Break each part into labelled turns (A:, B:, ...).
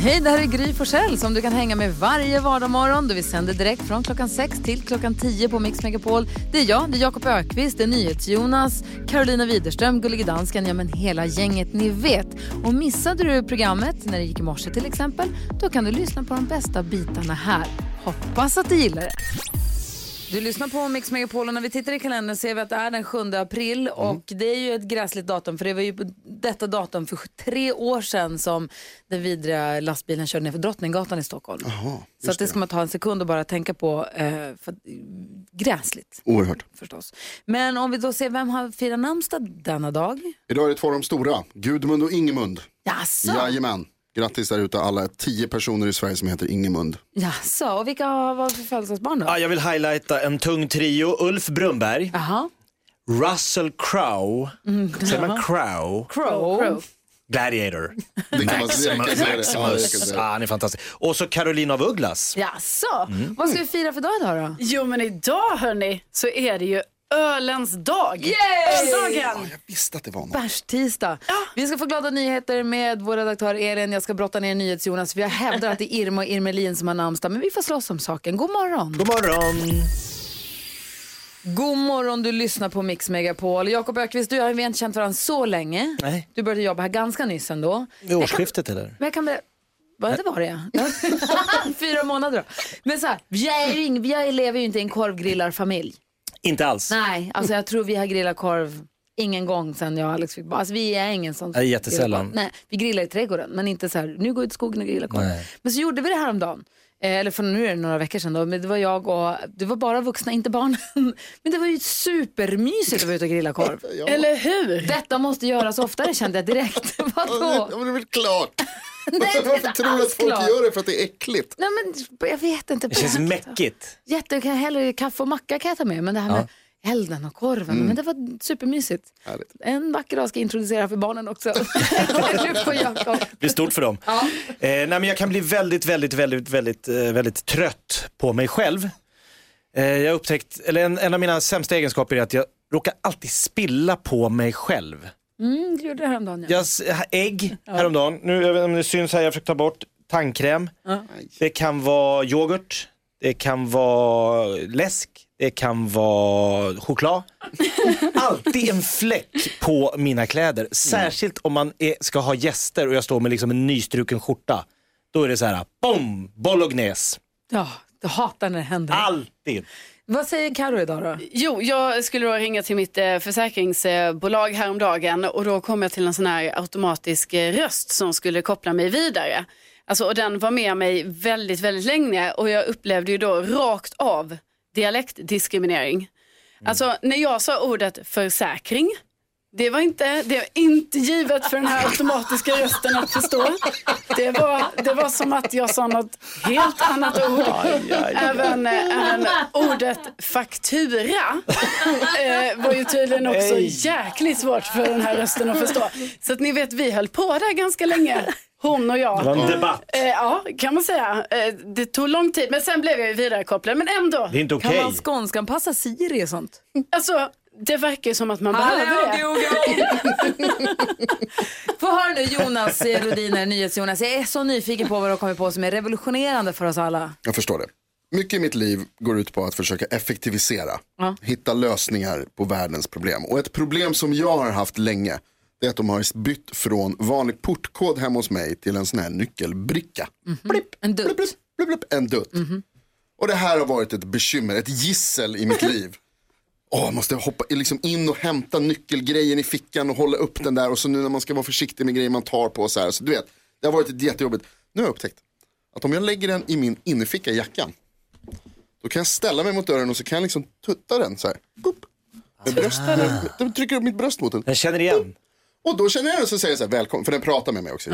A: Hej, det här är Gry Forssell som du kan hänga med varje vardagsmorgon. Vi sänder direkt från klockan 6 till klockan 10 på Mix Megapol. Det är jag, det är Jakob Ökvist, det är NyhetsJonas, Carolina Widerström, Gullige Dansken, ja men hela gänget ni vet. Och missade du programmet när det gick i morse till exempel, då kan du lyssna på de bästa bitarna här. Hoppas att du gillar det. Du lyssnar på Mix Megapol och när vi tittar i kalendern ser vi att det är den 7 april och det är ju ett gräsligt datum för det var ju på detta datum för tre år sedan som den vidriga lastbilen körde ner för Drottninggatan i Stockholm. Så att det ska man ta en sekund och bara tänka på. Eh, för, att- gräsligt
B: Oerhört.
A: förstås. Men om vi då ser vem har firat namnsdag denna dag?
B: Idag är det två av de stora, Gudmund och Ingemund.
A: Jaså?
B: Jajamän. Grattis där ute alla tio personer i Sverige som heter Ingemund.
A: Jaså, och vilka har varit för födelsedagsbarn då?
C: Ja, jag vill highlighta en tung trio. Ulf Brunnberg,
A: Jaha.
C: Russell Crowe, säger man Crowe?
A: Crow.
C: Gladiator.
B: Det kan man säga.
C: Maximus. Maximus. Ah, han är fantastisk. Och så Caroline av Ugglas.
A: Jaså? Vad ska vi fira för dag idag då?
D: Jo, men idag hörni så är det ju ölens dag.
A: Yay!
D: Öldagen!
B: Jag visste att det var något.
A: Bärstisdag. Vi ska få glada nyheter med vår redaktör Elin. Jag ska brotta ner NyhetsJonas för jag hävdar att det är Irma och Irmelin som har namnsdag. Men vi får slåss om saken. God morgon!
C: God morgon.
A: God morgon, du lyssnar på Mix Megapol. Jakob Ökvist, du och jag har ju inte känt varandra så länge.
C: Nej.
A: Du började jobba här ganska nyss ändå.
C: Vid årsskiftet eller?
A: Men jag kan berätta... Vad det var det ja. Fyra månader då. Men så här, jag, är ju ing- jag lever ju inte i en korvgrillarfamilj.
C: Inte alls.
A: Nej, alltså jag tror vi har grillat korv ingen gång sedan jag och Alex fick barn. Alltså vi är ingen sån.
C: Nej, jättesällan.
A: grillar korv. Nej, vi grillar i trädgården, men inte så här, nu går vi ut i skogen och grillar korv.
C: Nej.
A: Men så gjorde vi det här om dagen. Eh, Eller för nu är det några veckor sedan då, men det var jag och, det var bara vuxna, inte barnen. Men det var ju supermysigt att vara ute och grilla korv.
D: Eller hur?
A: Detta måste göras oftare kände jag direkt.
B: Ja,
A: Vadå?
B: det- men det är väl klart.
A: Nej, det är
B: Varför
A: inte
B: tror du
A: alls
B: att folk
A: klart.
B: gör det för att det är äckligt?
A: Nej men jag vet inte.
C: Det känns mäckigt.
A: Jätte, kan jag hellre kaffe och macka kan jag ta med, men det här med elden och korven, men det var supermysigt.
B: Härligt.
A: En vacker dag ska jag introducera för barnen också. Du får Jakob.
C: Det blir stort för dem. Eh, nej, men jag kan bli väldigt, väldigt, väldigt, väldigt, eh, väldigt trött på mig själv. Eh, jag har upptäckt, eller en, en av mina sämsta egenskaper är att jag råkar alltid spilla på mig själv.
A: Mm, du gjorde det häromdagen. Ja.
C: Jag, s- ägg häromdagen, nu jag vet inte om det syns här, jag försöker ta bort tandkräm. Det kan vara yoghurt, det kan vara läsk, det kan vara choklad. Alltid en fläck på mina
A: Mm.
C: kläder. Särskilt om man är, ska ha gäster och jag står med liksom en nystruken skjorta. Då är det så här, bom, bolognese.
A: ja, jag hatar när det händer.
C: Alltid.
A: Vad säger Karo idag då?
D: Jo, jag skulle då ringa till mitt eh, försäkringsbolag häromdagen och då kom jag till en sån här automatisk eh, röst som skulle koppla mig vidare. Alltså, och den var med mig väldigt, väldigt länge och jag upplevde ju då rakt av dialektdiskriminering. Alltså när jag sa ordet försäkring, det var inte, det var inte givet för den här automatiska rösten att förstå. Det var, det var som att jag sa något helt annat ord. Även, eh, även ordet faktura eh, var ju tydligen också
C: Nej.
D: jäkligt svårt för den här rösten att förstå. Så att ni vet, vi höll på där ganska länge, hon och jag.
C: Det var en debatt.
D: Eh, ja, kan man säga. Eh, det tog lång tid, men sen blev jag ju vidarekopplad. Men ändå,
C: Det är inte
A: Kan
C: okej.
A: man skånskanpassa Siri och sånt?
D: alltså, det verkar ju som att man behöver det.
A: Få höra nu Jonas Rodiner, NyhetsJonas. Jag är så nyfiken på vad du har kommit på som är revolutionerande för oss alla.
B: Jag förstår det. Mycket i mitt liv går ut på att försöka effektivisera. Hitta lösningar på världens problem. Och ett problem som jag har haft länge. Det är att de har bytt från vanlig portkod hemma hos mig till en sån här nyckelbricka. Blipp,
A: Mhm. En dutt. Mhm.
B: blipp, blipp, blipp, blipp, en dutt. Och det här har varit ett bekymmer, ett gissel i mitt liv. Åh, jag måste hoppa liksom in och hämta nyckelgrejen i fickan och hålla upp den där. Och så nu när man ska vara försiktig med grejer man tar på så här. Så du vet, det har varit ett jättejobbigt. Nu har jag upptäckt att om jag lägger den i min innerficka i jackan. Då kan jag ställa mig mot dörren och så kan jag liksom tutta den så här. Boop. Med bröst, med, med, trycker upp mitt bröst mot den.
C: Jag känner igen.
B: Och då känner jag den så säger jag så här, välkommen, för den pratar med mig också.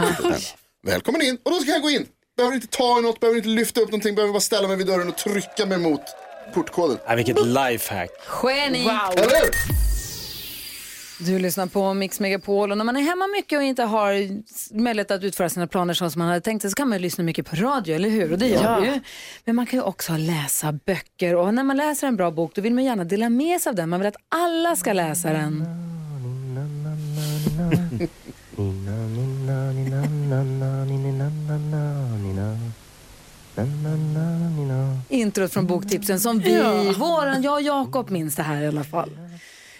B: välkommen in, och då ska jag gå in. Behöver inte ta i något, behöver inte lyfta upp någonting, behöver bara ställa mig vid dörren och trycka mig mot portkoden.
C: Nej, vilket lifehack.
A: Geni!
D: Wow.
B: Eller hur?
A: Du lyssnar på Mix Megapol och när man är hemma mycket och inte har möjlighet att utföra sina planer så som man hade tänkt sig så kan man ju lyssna mycket på radio, eller hur? Och det gör vi ju. Men man kan ju också läsa böcker och när man läser en bra bok då vill man gärna dela med sig av den. Man vill att alla ska läsa den. efteråt från boktipsen som vi, våran, jag och Jakob minns det här i alla fall.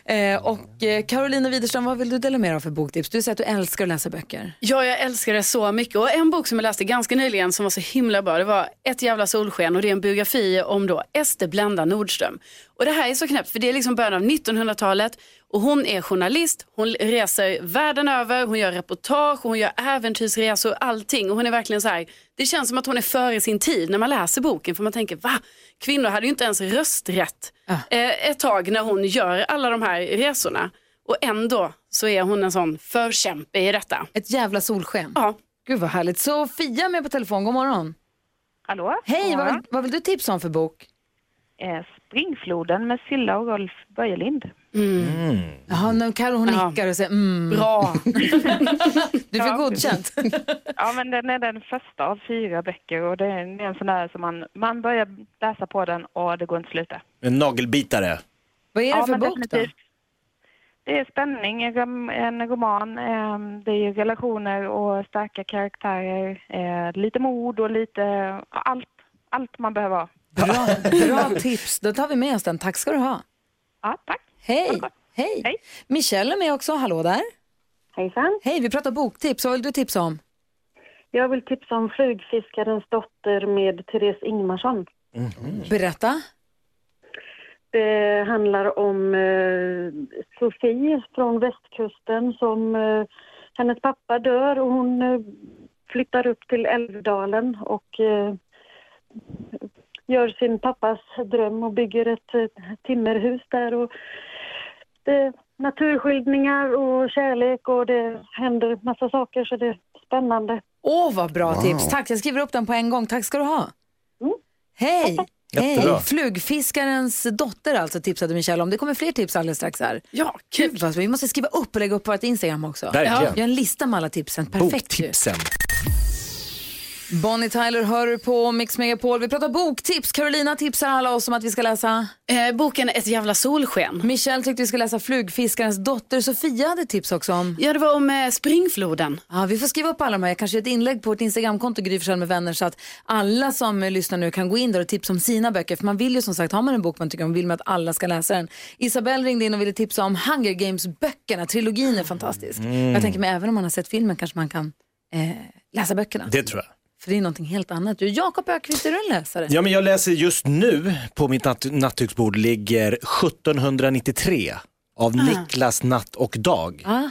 A: Eh, och eh, Carolina Widerström, vad vill du dela med dig av för boktips? Du säger att du älskar att läsa böcker.
D: Ja, jag älskar det så mycket. Och en bok som jag läste ganska nyligen som var så himla bra, det var Ett jävla solsken och det är en biografi om då Ester Blenda Nordström. Och det här är så knäppt för det är liksom början av 1900-talet och hon är journalist, hon reser världen över, hon gör reportage, hon gör äventyrsresor och allting. Och hon är verkligen så här, det känns som att hon är före sin tid när man läser boken för man tänker va? Kvinnor hade ju inte ens rösträtt eh, ett tag när hon gör alla de här resorna. Och ändå så är hon en sån förkämpe i detta.
A: Ett jävla solsken.
D: Ja.
A: Gud vad härligt. Sofia är med på telefon, god morgon.
E: Hallå?
A: Hej,
E: God
A: vad,
E: morgon.
A: vill- vad vill du tipsa om för bok?
E: Eh, Springfloden med Silla och Rolf Börjelind.
A: Jaha,
E: Mm.
A: nu Karo hon
D: Ja.
A: nickar och säger mm.
D: Bra.
A: Du fick
E: Ja.
A: godkänt.
E: Ja, men den är den första av fyra böcker och det är en det är en sån där som man, man börjar läsa på den och det går inte att sluta.
C: En nagelbitare.
A: vad är det
E: ja,
A: för
E: men
A: bok då?
E: definitivt. Det är spänning, en rom- en roman, ehm, det är relationer och starka karaktärer, eh, lite mod och lite ja, allt, allt man behöver ha.
A: Bra, bra tips, då tar vi med oss den. Tack ska du ha.
E: Ja, tack.
A: Hej.
E: Varsågod.
A: Hej.
E: Hej.
A: Michelle är med också, hallå där.
F: Hejsan.
A: Hej, vi pratar boktips, vad vill du tipsa om?
F: Jag vill tipsa om Flugfiskarens dotter med Therese Ingmarsson.
A: Berätta.
F: Det handlar om eh, Sofie från västkusten som eh, hennes pappa dör och hon eh, flyttar upp till Älvdalen och eh, gör sin pappas dröm och bygger ett eh, timmerhus där. Och det är naturskildringar och kärlek och det händer massa saker så det är spännande.
A: Åh, vad bra
B: Wow.
A: tips. Tack, jag skriver upp den på en gång. Tack ska du ha. Hej!
C: Jättebra.
A: Hej! Flugfiskarens dotter alltså tipsade Michelle om. Det kommer fler tips alldeles strax här.
D: Ja,
A: Gud vad vi måste skriva upp och lägga upp på vårt Instagram också.
C: Verkligen.
A: Gör en lista med alla tipsen. Perfekt ju.
C: Boktipsen.
A: Bonnie Tyler hör du på Mix Megapol. Vi pratar boktips. Carolina tipsar alla oss om att vi ska läsa.
D: Eh, boken Ett jävla solsken.
A: Michelle tyckte vi ska läsa Flugfiskarens dotter. Sofia hade tips också om.
D: Ja, det var om eh, springfloden.
A: Ja, vi får skriva upp alla de här. Jag kanske gör ett inlägg på vårt Instagramkonto, Gry Forssell med vänner, så att alla som eh, lyssnar nu kan gå in där och tipsa om sina böcker. För man vill ju som sagt, har man en bok man tycker om, vill man att alla ska läsa den. Isabelle ringde in och ville tipsa om Hunger Games-böckerna. Trilogin är fantastisk.
C: Mm.
A: Jag tänker mig, även om man har sett filmen kanske man kan eh, läsa böckerna.
C: Det tror jag.
A: För det är någonting helt annat. Du, Jakob Ökvist, är du en läsare?
C: Ja, men jag läser just nu, på mitt natt nattduksbord ligger 1793 av Niklas Natt och Dag.
A: Ah.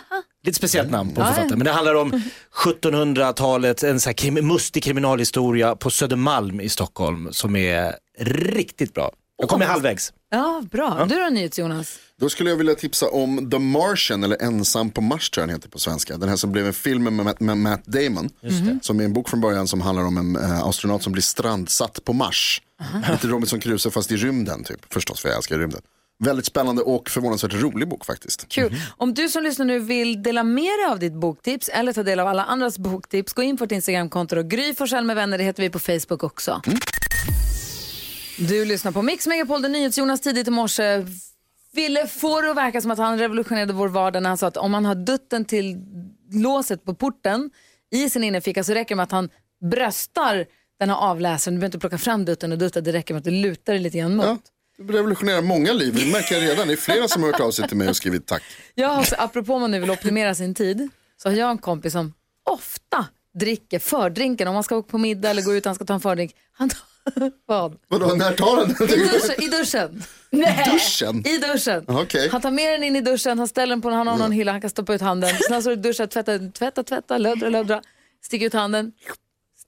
C: Lite speciellt namn på en författare, men det handlar om 1700-talet, en så här krim, mustig kriminalhistoria på Södermalm i Stockholm som är riktigt bra. Jag kommer halvvägs.
A: Ja, bra. Du då, NyhetsJonas?
B: Då skulle jag vilja tipsa om The Martian, eller Ensam på Mars tror jag den heter på svenska. Den här som blev en film med, Matt- med Matt Damon. Mm-hmm. Som är en bok från början som handlar om en eh, astronaut som blir strandsatt på Mars. Lite Robinson Crusoe fast i rymden typ, förstås för jag älskar rymden. Väldigt spännande och förvånansvärt rolig bok faktiskt.
A: Kul. Om du som lyssnar nu vill dela med dig av ditt boktips eller ta del av alla andras boktips, gå in på vårt Instagramkonto och Gry Forssell med vänner, det heter vi på Facebook också. Du lyssnar på Mix Megapol, där NyhetsJonas tidigt i morse ville få det att verka som att han revolutionerade vår vardag när han sa att om man har dutten till låset på porten i sin innerficka så räcker det med att han bröstar den här avläsaren. Du behöver inte plocka fram dutten och dutta, det räcker med att du lutar dig lite grann mot.
B: Ja, det revolutionerar många liv, det märker jag redan. Det är flera som har hört av sig till mig och skrivit tack.
A: Jag har också, apropå om man nu vill optimera sin tid, så har jag en kompis som ofta dricker fördrinken. Om man ska åka på middag eller gå ut han ska ta en fördrink. Han tar vad?
B: Vadå, när tar han den?
A: I duschen. I duschen.
B: Duschen?
A: I duschen.
B: Okej.
A: Han tar med den in i duschen, han ställer den på han har någon hylla, han kan stoppa ut handen. Sen han står och duschar, tvätta, tvätta, tvätta, löddra, löddra. Sticker ut handen,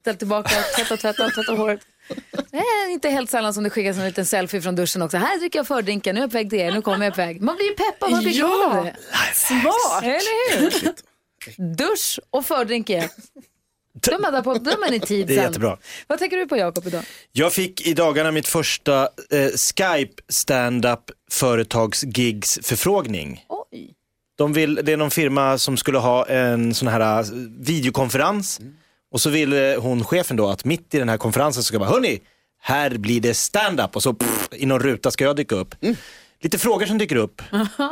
A: ställ tillbaka, tvätta, tvätta, tvätta håret. Det är inte helt sällan som det skickas en liten selfie från duschen också. Här dricker jag fördrinken, nu är jag på väg till er, nu kommer jag på väg. Man blir ju peppad, man blir glad av det.
D: Smart!
A: Eller hur? Dusch och fördrink är ett. De är där på, de är i tid
C: Det är
A: sen.
C: jättebra.
A: Vad tänker du på Jakob idag?
C: Jag fick i dagarna mitt första eh, Skype stand-up företagsgigs förfrågning.
A: Oj.
C: De vill, det är någon firma som skulle ha en sån här eh, videokonferens. Och så ville hon, chefen då, att mitt i den här konferensen så ska jag bara, hörni, här blir det stand-up. Och så pff, i någon ruta ska jag dyka upp. Lite frågor som dyker upp.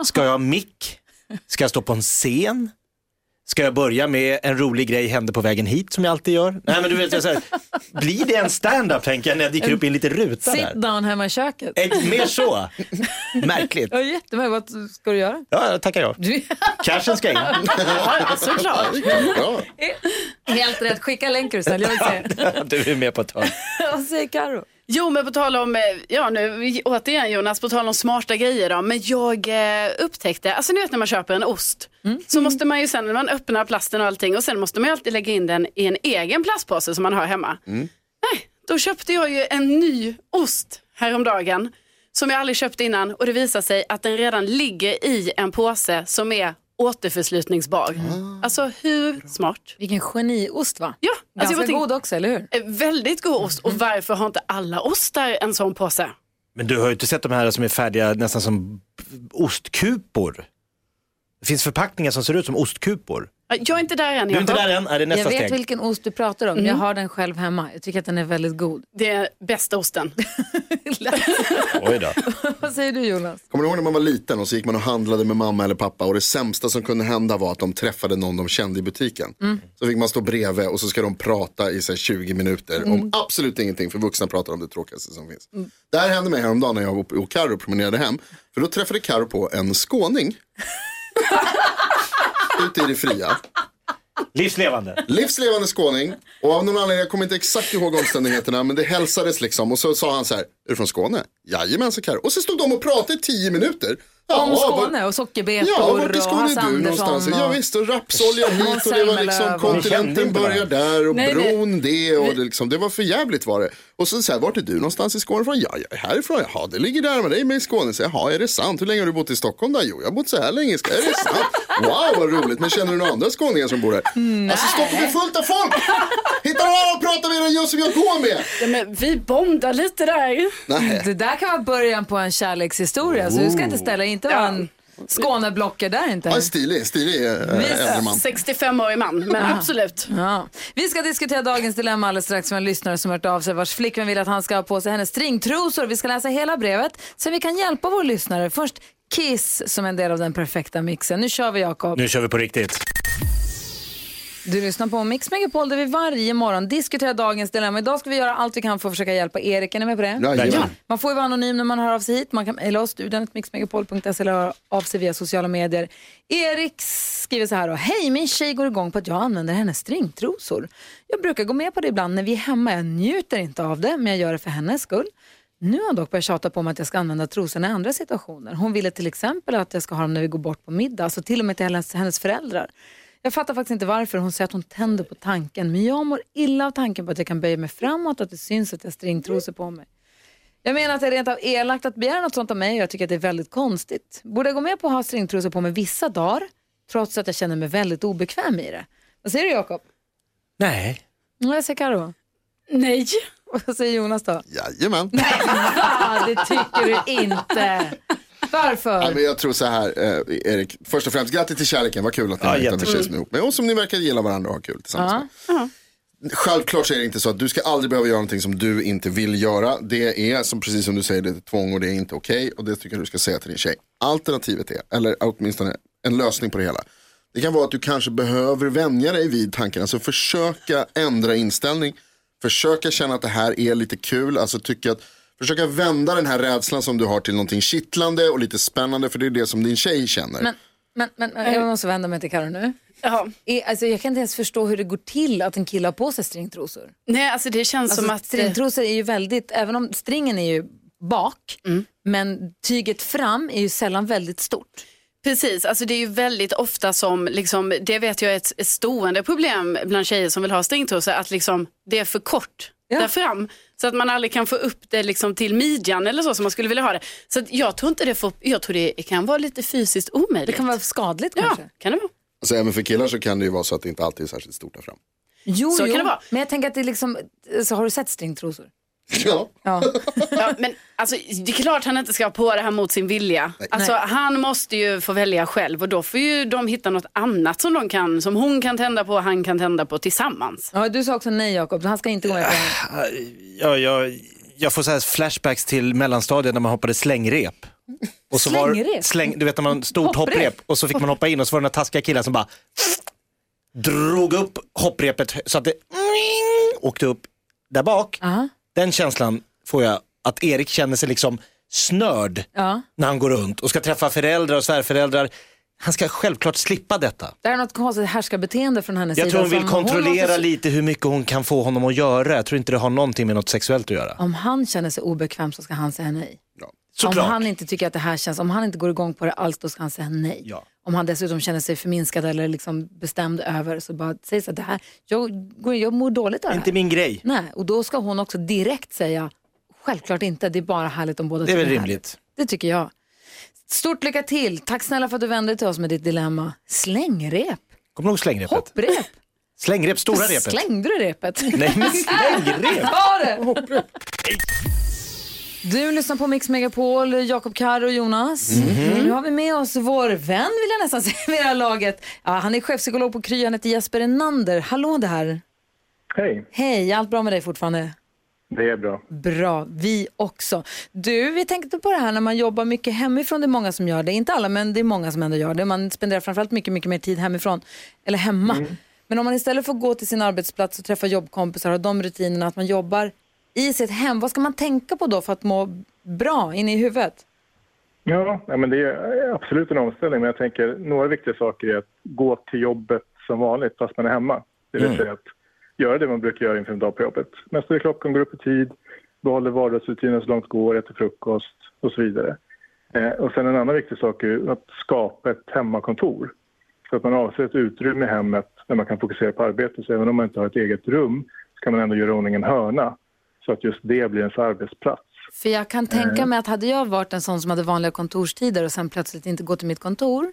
C: Ska jag ha mick? Ska jag stå på en scen? Ska jag börja med en rolig grej hände på vägen hit som jag alltid gör? Nej men du vet, jag, så här, blir det en stand-up tänker jag när jag dyker upp i en liten ruta
A: Sit
C: där.
A: down hemma i köket.
C: Eh, Mer så. Märkligt.
A: Ja, jättemärkligt. Vad ska du göra?
C: Ja, tackar jag. Cashen ska in.
D: Ja, såklart.
B: Ja.
A: Helt rätt. Skicka länk är du snäll. Jag vill se.
C: Du är med på ett hörn.
A: Vad säger Karo?
D: Jo, men på tal om, eh, ja nu återigen Jonas, på tal om smarta grejer då. Men jag eh, upptäckte, alltså ni vet när man köper en ost
A: Mm.
D: så måste man ju sen när man öppnar plasten och allting och sen måste man ju alltid lägga in den i en egen plastpåse som man har hemma.
A: Mm.
D: Nej, då köpte jag ju en ny ost häromdagen som jag aldrig köpt innan och det visar sig att den redan ligger i en påse som är återförslutningsbar.
A: Ah.
D: Alltså hur smart?
A: Vilken geniost va?
D: Ja, alltså
A: Ganska
D: jag bara tänkte,
A: god Mm. också, eller hur?
D: eh, väldigt god ost och varför har inte alla ostar en sån påse?
C: Men du har ju inte sett de här som är färdiga nästan som ostkupor? Det finns förpackningar som ser ut som ostkupor.
D: Jag är inte där än.
C: Du är
D: Jakob.
C: inte där än, är det är nästa
A: Jag vet
C: steg?
A: vilken ost du pratar om. Jag har den själv hemma. Jag tycker att den är väldigt god.
D: Det är bästa osten.
C: Oj då.
A: Vad säger du Jonas?
B: Kommer du ihåg när man var liten och så gick man och handlade med mamma eller pappa och det sämsta som kunde hända var att de träffade någon de kände i butiken. Så fick man stå bredvid och så ska de prata i så här, 20 minuter om absolut ingenting för vuxna pratar om det tråkigaste som finns. Det här hände mig häromdagen när jag och- och Karo promenerade hem. För då träffade Karo på en skåning. Ute i det fria.
C: Livslevande.
B: Livslevande skåning. Och av någon anledning, jag kommer inte exakt ihåg omständigheterna, men det hälsades liksom. Och så sa han så här, är du från Skåne? Jajamän, så Karo. Och så stod de och pratade i tio minuter. Ja,
A: Om
B: vad-
A: Skåne och sockerbetor
B: Ja,
A: och
B: vart i Skåne
A: Hasse
B: är du någonstans?
A: Andersson.
B: Ja,
A: och-
B: visst, och rapsolja hit
A: Måns
B: och det var
A: Zelmerlöw
B: liksom
A: och-
C: Ni kände
B: kontinenten
C: inte
B: börjar där och
A: Nej, nej.
B: bron det och det, liksom, det var för jävligt var det. Och så säger vart är du någonstans i Skåne från? Ja, jag är härifrån. Jaha, det ligger där med dig med i Skåne. Så, Jaha, är det sant? Hur länge har du bott i Stockholm där? Jo, jag har bott så här länge. Ska, är det sant? Wow, vad roligt. Men känner du några andra skåningar som bor här? Alltså Stockholm är fullt av folk! Hittar du och pratar med den jag som jag går med?
D: Ja, men vi bondar lite där.
B: Nej.
A: Det där kan vara början på en kärlekshistoria. Så du ska inte ställa inte vara en Skåneblocker där inte.
B: Oh. Ja, stilig, stilig eh, äldre man.
D: 65-årig man, men absolut.
A: Ja. Vi ska diskutera dagens dilemma alldeles strax med en lyssnare som hört av sig vars flickvän vill att han ska ha på sig hennes stringtrosor. Vi ska läsa hela brevet så vi kan hjälpa vår lyssnare. Först Kiss som en del av den perfekta mixen. Nu kör vi Jakob.
C: Nu kör vi på riktigt.
A: Du lyssnar på Mix Megapol där vi varje morgon diskuterar dagens dilemma. Idag ska vi göra allt vi kan för att försöka hjälpa Erik. Är ni med på det?
B: Jajamän.
A: Man får ju vara anonym när man hör av sig hit. Man kan mejla oss, studion, mixmegapol.se eller höra av sig via sociala medier. Erik skriver så här då. Hej, min tjej går igång på att jag använder hennes stringtrosor. Jag brukar gå med på det ibland när vi är hemma. Jag njuter inte av det, men jag gör det för hennes skull. Nu har hon dock börjat tjata på mig att jag ska använda trosorna i andra situationer. Hon ville till exempel att jag ska ha dem när vi går bort på middag, så till och med till hennes, hennes föräldrar. Jag fattar faktiskt inte varför. Hon säger att hon tänder på tanken, men jag mår illa av tanken på att jag kan böja mig framåt och att det syns att jag har stringtrosor på mig. Jag menar att det är rent av elakt att begära något sånt av mig och jag tycker att det är väldigt konstigt. Borde jag gå med på att ha stringtrosor på mig vissa dagar trots att jag känner mig väldigt obekväm i det? Vad säger du Jakob?
C: Nej.
A: Ja, Jag säger Karo.
D: Nej.
A: Vad säger Jonas då?
B: Jajamän.
A: Ah, det tycker du inte.
B: Nej,
A: Varför?
B: men jag tror så här, eh, Erik. Först och främst, grattis till kärleken. Vad kul att ni
C: Ja,
B: har hittat en
C: jättekul.
B: tjej som är ihop med. Och som ni verkar gilla varandra och ha kul tillsammans
A: Ja.
B: med. Självklart så är det inte så att du ska aldrig behöva göra någonting som du inte vill göra. Det är, som precis som du säger, det är tvång och det är inte okej. Och det tycker jag du ska säga till din tjej. Alternativet är, eller åtminstone en lösning på det hela. Det kan vara att du kanske behöver vänja dig vid tanken. Alltså försöka ändra inställning. Försöka känna att det här är lite kul. Alltså tycka att Försöka vända den här rädslan som du har till någonting kittlande och lite spännande för det är det som din tjej känner.
A: Men, men, men, men jag måste vända mig till Karo nu.
D: Ja.
A: I- Alltså, jag kan inte ens förstå hur det går till att en kille har på sig stringtrosor.
D: Nej, alltså det känns som
A: Alltså,
D: att...
A: stringtrosor är ju väldigt, även om stringen är ju bak, men tyget fram är ju sällan väldigt stort.
D: Precis, alltså det är ju väldigt ofta som, liksom, det vet jag är ett, ett stående problem bland tjejer som vill ha stringtrosor, att liksom, det är för kort
A: Ja.
D: där fram. Så att man aldrig kan få upp det liksom till midjan eller så som man skulle vilja ha det. Så att jag tror inte det får, jag tror det kan vara lite fysiskt omöjligt.
A: Det kan vara skadligt
D: ja,
A: kanske.
D: kan det vara.
B: Alltså, även för killar så kan det ju vara så att det inte alltid är särskilt stort där fram.
A: Jo,
D: Så kan
A: jo.
D: det vara.
A: men jag tänker att det är liksom, så har du sett stringtrosor?
B: Ja.
A: Ja.
D: Ja, men alltså, det är klart han inte ska ha på det här mot sin vilja. Alltså, han måste ju få välja själv och då får ju de hitta något annat som, de kan, som hon kan tända på och han kan tända på tillsammans.
A: ja, du sa också nej Jakob, han ska inte gå med på det.
C: Ja, jag, jag får så här flashbacks till mellanstadiet när man hoppade slängrep. Och så
A: Slängrep?
C: Var, släng, du vet när man stort
A: Hopprep?
C: hopprep och så fick man hoppa in och så var det några taskiga killar som bara drog upp hopprepet hö- så att det åkte upp där bak.
A: Ja.
C: Den känslan får jag att Erik känner sig liksom snörd
A: Ja.
C: när han går runt och ska träffa föräldrar och svärföräldrar. Han ska självklart slippa detta.
A: Det här är något konstigt härskarbeteende från hennes
C: Jag
A: sida.
C: tror hon vill
A: som hon
C: kontrollera
A: måste-
C: lite hur mycket hon kan få honom att göra. Jag tror inte det har någonting med något sexuellt att göra.
A: Om han känner sig obekväm så ska han säga nej. Om
C: Såklart.
A: han inte tycker att det här känns, om han inte går igång på det alls då ska han säga nej.
C: Ja.
A: Om han dessutom känner sig förminskad eller liksom bestämd över så bara säg så att det här, jag, går- jag mår dåligt av det här.
C: Inte min grej.
A: Nej, och då ska hon också direkt säga självklart inte, det är bara härligt om båda
C: Det är väl
A: tycker
C: rimligt.
A: Det tycker jag. Stort lycka till, tack snälla för att du vände dig till oss med ditt dilemma. Slängrep,
C: Kommer du ihåg slängrepet?
A: hopprep,
C: Slängrep, stora repet.
A: slängde du repet?
C: Nej men slängrep!
A: Ta det! Du lyssnar på Mix Megapol, Jakob Karro och Jonas.
C: Mhm.
A: Nu har vi med oss vår vän, vill jag nästan säga, vid det här laget. Ja, han är chefpsykolog på Kry, han heter Jesper Enander. Hallå där!
G: Hej,
A: Hej, allt bra med dig fortfarande?
G: det är bra.
A: Bra, vi också. Du, vi tänkte på det här när man jobbar mycket hemifrån. Det är många som gör det, inte alla, men det är många som ändå gör det. Man spenderar framförallt mycket, mycket mer tid hemifrån, eller hemma. Men om man istället får gå till sin arbetsplats och träffa jobbkompisar och de rutinerna att man jobbar i sitt hem, vad ska man tänka på då för att må bra inne i huvudet?
G: Ja, ja, men det är absolut en omställning, men jag tänker några viktiga saker är att gå till jobbet som vanligt fast man är hemma. Det vill säga att göra det man brukar göra inför en dag på jobbet. Man står i klockan, går upp i tid, behåller vardagsrutinen så långt det går, äter frukost och så vidare. Eh, och sen en annan viktig sak är ju att skapa ett hemmakontor. Så att man avser ett utrymme i hemmet där man kan fokusera på arbetet. Så även om man inte har ett eget rum så kan man ändå göra i ordning en hörna så att just det blir ens arbetsplats.
A: För jag kan
G: Eh.
A: tänka mig att hade jag varit en sån som hade vanliga kontorstider och sen plötsligt inte gått till mitt kontor,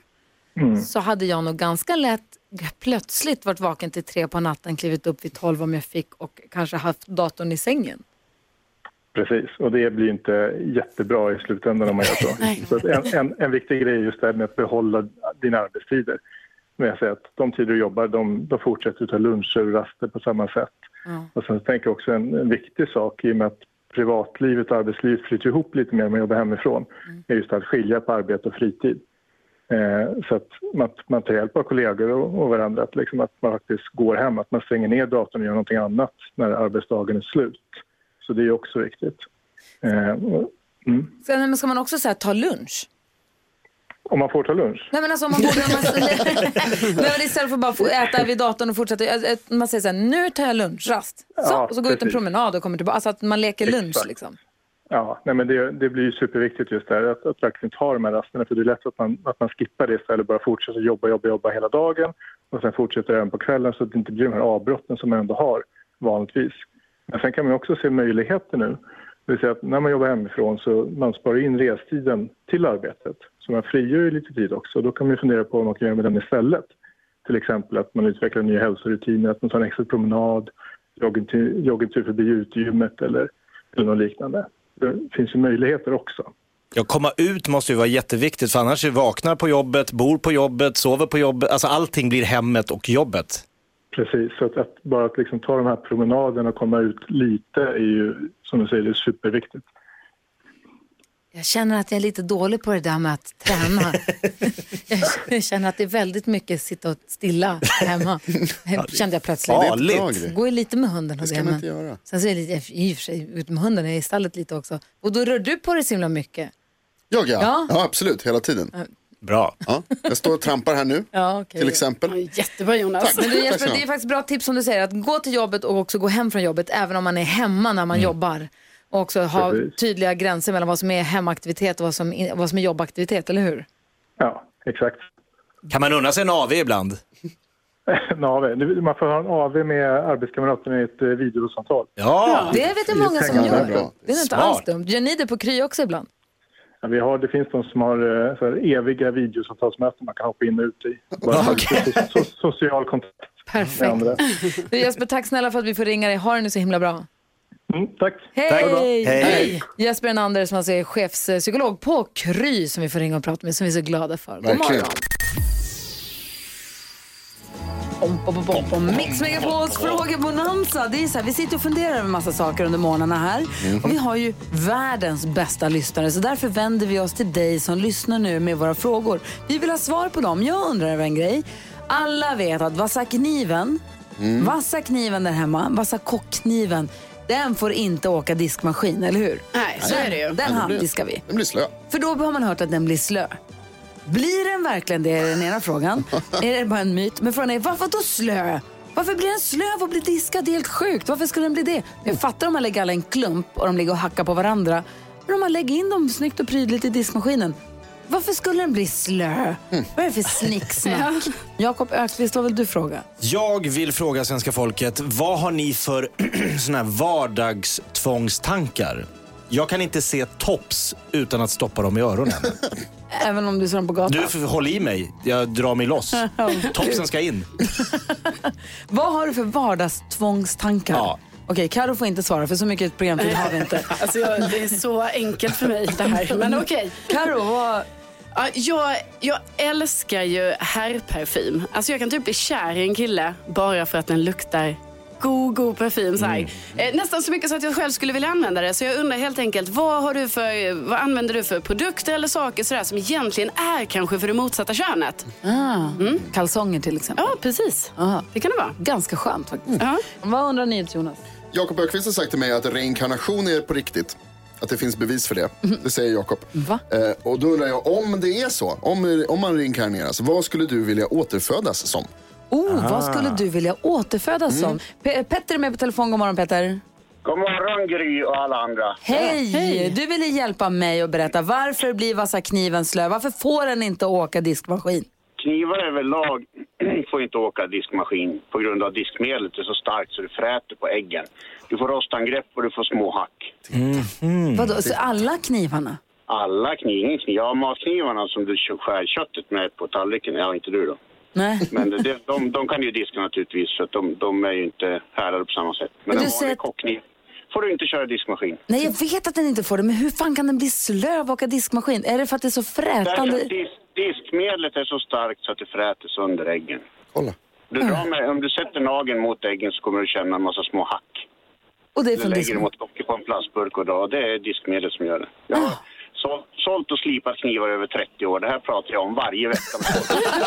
G: Mm.
A: så hade jag nog ganska lätt plötsligt varit vaken till tre på natten, klivit upp vid tolv om jag fick och kanske haft datorn i sängen.
G: Precis, och det blir inte jättebra i slutändan om man gör så. så att en, en, en viktig grej är just det här med att behålla dina arbetstider. Men jag säger att de tider du jobbar, de, de fortsätter att ta luncher och raster på samma sätt. Och sen tänker jag också en, en viktig sak i och med att privatlivet och arbetslivet flyter ihop lite mer när man jobbar hemifrån, är just att skilja på arbete och fritid. Eh, så att man, man tar hjälp av kollegor och, och varandra, att, liksom att man faktiskt går hem, att man stänger ner datorn och gör någonting annat när arbetsdagen är slut. Så det är också viktigt. Eh, och- mm.
A: Ska, nej, men ska man också säga ta lunch?
G: Om man får ta lunch?
A: Nej men alltså om man borde... Om man, nej, men istället för att bara få äta vid datorn och fortsätta. äh, äh, Man säger så här, nu tar jag lunchrast. Så,
G: Ja,
A: och så går ut en
G: precis.
A: promenad och kommer tillbaka. Alltså att man leker lunch
G: Exakt.
A: liksom.
G: Ja, nej men det, det blir ju superviktigt just där att, att verkligen ta de här rasterna för det är lätt att man, att man skippar det istället och bara fortsätter jobba, jobba, jobba hela dagen och sen fortsätter även på kvällen så att det inte blir de här avbrotten som man ändå har vanligtvis. Men sen kan man ju också se möjligheter nu. Det vill säga att när man jobbar hemifrån så man sparar in restiden till arbetet så man frigör ju lite tid också och då kan man ju fundera på vad man kan göra med den istället. Till exempel att man utvecklar nya hälsorutiner, att man tar en extra promenad, joggen till- joggingtur förbi utegymmet eller, eller något liknande. Det finns ju möjligheter också.
C: Ja, komma ut måste ju vara jätteviktigt för annars är vaknar på jobbet, bor på jobbet, sover på jobbet. Alltså allting blir hemmet och jobbet.
G: Precis, så att, att bara att liksom ta de här promenaderna och komma ut lite är ju, som du säger, det är superviktigt.
A: Jag känner att jag är lite dålig på det där med att träna. jag känner att det är väldigt mycket sitta och stilla hemma. Kände jag plötsligt.
C: Farligt.
B: bra grej.
A: Går ju lite med hunden och
B: ska
A: det,
B: man
A: men-
B: inte göra.
A: Sen så är det lite, i och för sig ut med hunden, jag är i stallet lite också. Och då rör du på dig så himla mycket.
B: Jag ja.
A: Ja.
B: ja, absolut, hela tiden.
C: Bra.
B: Ja. Jag står och trampar här nu,
A: Ja, okej.
B: till exempel.
D: Jättebra Jonas.
B: Tack.
A: Men du Jesper,
B: snälla.
A: det är faktiskt bra tips som du säger, att gå till jobbet och också gå hem från jobbet, även om man är hemma när man
B: Mm.
A: jobbar. Och också ha
G: Precis.
A: tydliga gränser mellan vad som är hemaktivitet och vad som, är- vad som är jobbaktivitet, eller hur?
G: Ja, exakt.
C: Kan man unna sig en AV ibland?
G: En AV. Nu- Man får ha en AV med arbetskamraterna i ett eh, videosamtal.
C: Ja.
A: Det vet jag många som
G: Ja, det är
A: gör.
B: bra.
A: Det är inte
C: Smart.
A: alls dumt. Gör ni det på Kry också ibland?
G: Ja, vi har, det finns de som har eh, så här, eviga videosamtalsmöten man kan hoppa in och ut i. Bara för so, so, social kontakt med
A: Perfekt.
G: andra.
A: Du Jesper, tack snälla för att vi får ringa dig. Ha det nu så himla bra.
G: Mm, tack.
A: Hej!
C: Hej.
A: Jesper Enander som alltså är chefspsykolog på Kry som vi får ringa och prata med som vi är så glada för. God
B: Verkligen.
A: morgon! Om, om, om, om, om. Mix Megapols frågebonanza. Det är så här, vi sitter och funderar över massa saker under morgnarna här. Och vi har ju världens bästa lyssnare, så därför vänder vi oss till dig som lyssnar nu med våra frågor. Vi vill ha svar på dem. Jag undrar över en grej. Alla vet att vassa kniven, vassa kniven där hemma, vassa kockkniven, den får inte åka diskmaskin, eller hur?
D: Nej, så är det ju.
A: Den
B: Den blir-
A: handdiskar vi.
B: Den blir slö.
A: För då har man hört att den blir slö. Blir den verkligen det, är den ena frågan. är det bara en myt? Men frågan är, varför då slö? Varför blir den slö av att bli diskad? Det är helt sjukt. Varför skulle den bli det? Jag fattar om man lägger alla i en klump och de ligger och hackar på varandra. Men om man lägger in dem snyggt och prydligt i diskmaskinen. Varför skulle den bli slö? Vad är det för snicksnack? Jakob Ökvist, vad vill du fråga?
C: Jag vill fråga svenska folket, vad har ni för såna här vardagstvångstankar? Jag kan inte se tops utan att stoppa dem i öronen.
A: Även om du ser dem på gatan.
C: Du, f- håll i mig. Jag drar mig loss. Topsen ska in.
A: Vad har du för vardagstvångstankar?
C: Ja.
A: Okej, Karo får inte svara för så mycket programtid har vi inte.
D: Alltså, jag, det är så enkelt för mig det här. Men okej.
A: Karo, vad...
D: Ja, jag, jag älskar ju herrparfym. Alltså jag kan typ bli kär i en kille bara för att den luktar god, god parfym. Så här.
C: Mm.
D: Eh, nästan så mycket så att jag själv skulle vilja använda det. Så jag undrar helt enkelt, vad, har du för, vad använder du för produkter eller saker så där, som egentligen är kanske för det motsatta könet?
A: Ah, Kalsonger till exempel.
D: Ja, precis.
A: Aha.
D: Det kan det vara.
A: Ganska skönt faktiskt.
D: Ja.
A: Vad undrar ni Jonas?
B: Jakob Ökvist har sagt till mig att reinkarnation är på riktigt. Att det finns bevis för det. Det säger Jakob.
A: Mhm. Va?
B: Eh, och då undrar jag, om det är så, om, om man reinkarneras, vad skulle du vilja återfödas som?
A: Oh, vad skulle du vilja återfödas som? Pe- Petter är med på telefon. God morgon Petter.
G: God morgon Gry och alla andra.
A: Hej! Du ville hjälpa mig att berätta varför blir vassa kniven slö? Varför får den inte åka diskmaskin?
G: Knivar överlag får inte åka diskmaskin på grund av att diskmedlet är så starkt så det fräter på äggen. Du får rostangrepp och du får små hack.
A: Vadå, så alla knivarna?
G: Alla kniv, ingen kniv. Ja, matknivarna som du skär köttet med på tallriken, ja inte du då.
A: Nej.
G: Men det, de, de kan ju diska naturligtvis för att de, de är ju inte härdade på samma sätt. Men
A: Men du
G: en vanlig
A: säger att-
G: kockkniv får du inte köra diskmaskin.
A: Nej, jag vet att den inte får det, men hur fan kan den bli slö av att åka diskmaskin? Är det för att det är så
G: Därför
A: frätande?
G: att dis, diskmedlet är så starkt så att det fräter sönder äggen.
B: Kolla.
G: Du drar
A: Mm.
G: med, om du sätter nageln mot äggen så kommer du känna en massa små hack.
A: Och det är
G: Du
A: från
G: lägger dem
A: diskmaskin?
G: åt dockor på en plastburk och drar. Det är diskmedel som gör det. Jag har sålt, sålt och slipat knivar över 30 år. Det här pratar jag om varje vecka.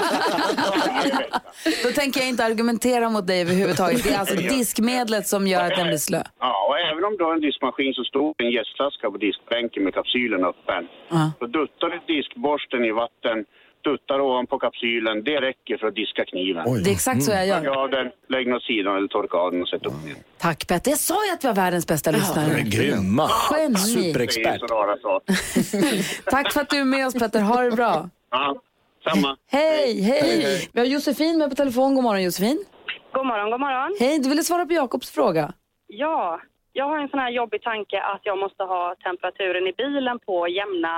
G: varje vecka.
A: Då tänker jag inte argumentera mot dig överhuvudtaget. Det är alltså diskmedlet som gör att den blir slö.
G: Ja, och även om du har en diskmaskin så står en gästflaska på diskbänken med kapsylen öppen.
A: Ja.
G: Då duttar du diskborsten i vatten, duttar ovanpå kapsylen. Det räcker för att diska kniven.
A: Det är exakt så jag gör.
G: Ja, den, lägg den åt sidan eller torka av den och sätt upp den. igen.
A: Tack Petter. Jag sa ju att vi har världens bästa lyssnare.
C: Grymma.
A: Geni.
G: Det är
C: Superexpert.
G: så rara saker.
A: Tack för att du är med oss Petter. Ha det bra.
G: Ja, samma.
A: Hej, hej. Vi har Josefin med på telefon. God morgon Josefin.
F: God morgon, god morgon.
A: Hej, du ville svara på Jakobs fråga.
F: Ja, jag har en sån här jobbig tanke att jag måste ha temperaturen i bilen på jämna,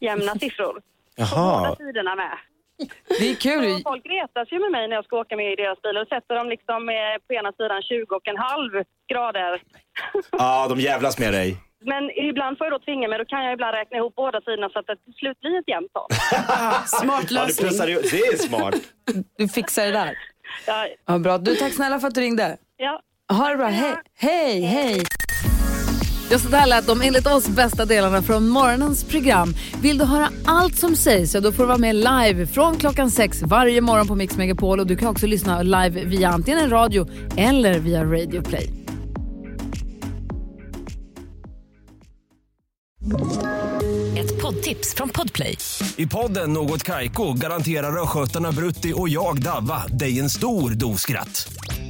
F: jämna siffror. Båda
C: Jaha.
F: sidorna med.
A: Det är kul.
F: Och folk retar sig med mig när jag ska åka med i deras bil och sätter dem liksom eh, på ena sidan 20 och en halv grader.
C: Ja, de jävlas med dig.
F: Men ibland får jag då tvinga mig, då kan jag ibland räkna ihop båda sidorna så att det till slut blir ett jämnt tal.
D: Smart
C: Ja, du
D: lösning.
C: plussar ju- Det är smart.
A: Du fixar det där.
F: Ja,
A: Ja, bra. Du, tack snälla för att du ringde.
F: ja.
A: Ha det bra. Hej, hej, hej.
H: Just så där lät de enligt oss bästa delarna från morgonens program. Vill du höra allt som sägs så då får du vara med live från klockan sex varje morgon på Mix Megapol och du kan också lyssna live via antingen en radio eller via Radio Play.
I: Ett poddtips från Podplay.
J: I podden Något Kaiko garanterar östgötarna Brutti och jag, Davva, dig en stor dos skratt.